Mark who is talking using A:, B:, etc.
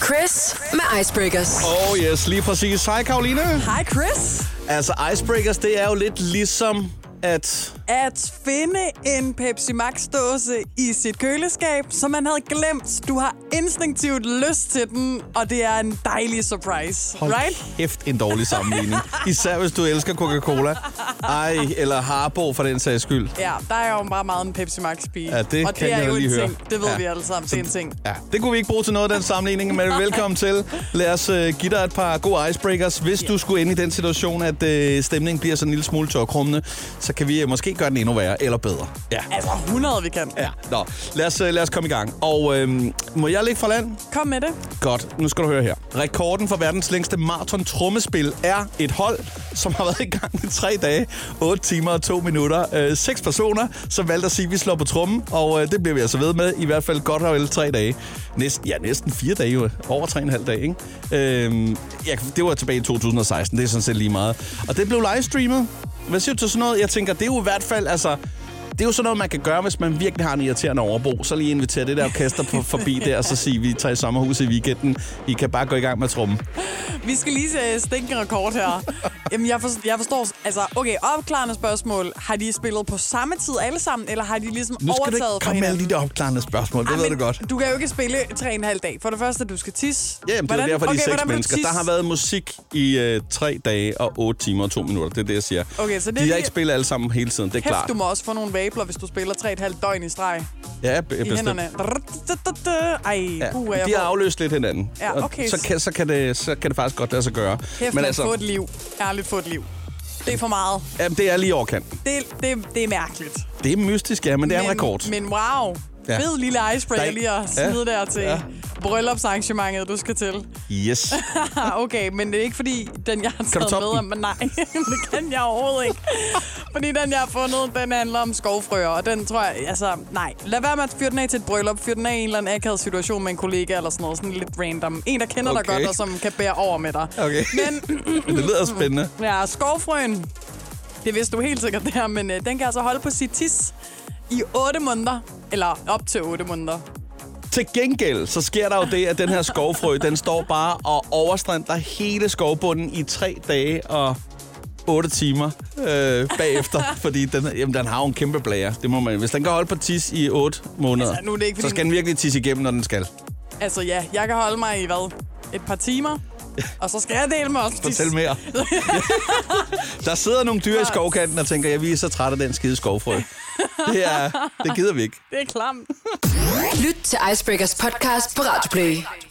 A: Chris med Icebreakers.
B: Oh yes, lige præcis. Hej Karoline.
C: Hej Chris.
B: Altså, icebreakers, det er jo lidt ligesom, at...
C: At finde en Pepsi Max dåse i sit køleskab, som man havde glemt. Du har instinktivt lyst til den, og det er en dejlig surprise.
B: Hold
C: Right?
B: kæft, en dårlig sammenligning. Især hvis du elsker Coca-Cola. Ej, eller Harbo for den sags skyld.
C: Ja, der er jo bare meget en Pepsi Max-pige.
B: Ja, det
C: og
B: kan
C: det er
B: jeg
C: jo
B: lige
C: en
B: høre.
C: ting. Det ved
B: Ja.
C: vi alle sammen. Det er en ting.
B: Ja, det kunne vi ikke bruge til noget af den sammenligning, men velkommen til. Lad os uh, give dig et par gode icebreakers. Hvis du skulle ende i den situation, at uh, stemningen bliver sådan en lille smule tørkrummende, så kan vi uh, måske gøre den endnu værre eller bedre. Ja.
C: Altså 100, vi kan.
B: Ja, nå. Lad os, øh, lad os komme i gang. Og øhm, må jeg ligge fra land?
C: Kom med det.
B: Godt, nu skal du høre her. Rekorden for verdens længste maraton trommespil er et hold, som har været i gang i tre dage, 8 timer og 2 minutter. Øh, seks personer, som valgte at sige, at vi slår på trommen, og øh, det bliver vi altså ved med, i hvert fald godt og vel tre dage. Næsten, ja, næsten fire dage jo, over tre og en halv dag, ikke? Øhm, ja, det var tilbage i 2016, det er sådan set lige meget. Og det blev livestreamet. Hvad siger du til sådan noget? Jeg tænker, det er jo i hvert fald, altså, det er jo sådan noget, man kan gøre, hvis man virkelig har en irriterende overbo. Så lige invitere det der orkester på, forbi der, og så sige, vi tager i sommerhus i weekenden. I kan bare gå i gang med trummen.
C: Vi skal lige øh, stikke en rekord her. Jamen, jeg, forstår, jeg forstår... Altså, okay, opklarende spørgsmål. Har de spillet på samme tid alle sammen, eller har de ligesom
B: Nu skal
C: overtaget
B: du ikke
C: fra
B: komme med alle
C: hinanden?
B: de der opklarende spørgsmål. Det
C: Ej,
B: ved du
C: men
B: godt.
C: Du kan jo ikke spille tre og en halv dag. For det første, du skal tisse.
B: Ja, det er
C: Hvordan-
B: derfor, de
C: okay,
B: er seks
C: hvordan vil du
B: mennesker. Der
C: tisse?
B: har været musik i øh, tre dage og 8 timer og 2 minutter. Det er det, jeg siger.
C: Okay, så det er
B: de har
C: lige-
B: ikke spillet alle sammen hele tiden, det er
C: Kæft,
B: klart.
C: du må også få nogle vabler, hvis du spiller tre og et halvt døgn i streg
B: Ja, be-
C: i
B: bestemt.
C: hænderne. Ej,
B: Ja,
C: puh, er jeg
B: de har
C: på.
B: afløst lidt hinanden.
C: Ja,
B: Og
C: okay.
B: Så kan, så, kan det, så kan det faktisk godt lade sig gøre.
C: Kæft,
B: altså-
C: man få et liv. Ærligt, få et liv. Det er for meget.
B: jamen, det er lige i overkanten.
C: Det, det, det er mærkeligt.
B: Det er mystisk, ja, men det er en rekord.
C: Men
B: Ja.
C: wow. Ja. Fed lille icebreaker
B: Der er-
C: lige at
B: Ja.
C: smide der til
B: Ja.
C: ja. bryllupsarrangementet, du skal til.
B: Yes.
C: Ah, okay, men det er ikke fordi, den jeg har
B: Kan du
C: taget
B: toppe
C: med,
B: den?
C: men nej, det kan jeg overhovedet ikke. fordi den, jeg har fundet, den handler om skovfrøer, og den tror jeg, altså, nej. Lad være med at fyre den af til et bryllup, fyre den af i en eller anden akavet situation med en kollega eller sådan noget, sådan lidt random. En, der kender
B: Okay.
C: dig godt, og som kan bære over med dig.
B: Okay.
C: Men
B: Men det lyder spændende.
C: Ja, skovfrøen. Det vidste du helt sikkert der, men øh, den kan altså holde på sit tis i 8 måneder. Eller op til 8 måneder.
B: Til gengæld, så sker der jo det, at den her skovfrø, den står bare og overstrænder hele skovbunden i tre dage og 8 timer øh, bagefter, fordi den, jamen, den har jo en kæmpe blære. Det må man. Hvis den kan holde på tis i 8 måneder,
C: Altså, nu er det ikke,
B: så
C: fordi-
B: skal den virkelig tisse igennem, når den skal.
C: Altså ja, jeg kan holde mig i hvad? Et par timer. Og så skal jeg dele med også tis.
B: Fortæl mere. der sidder nogle dyr i skovkanten og tænker, jeg vi er så trætte af den skide skovfrø. Det, er, det gider vi ikke.
C: Det er klamt.
A: Lyt til Icebreakers podcast på Radio Play.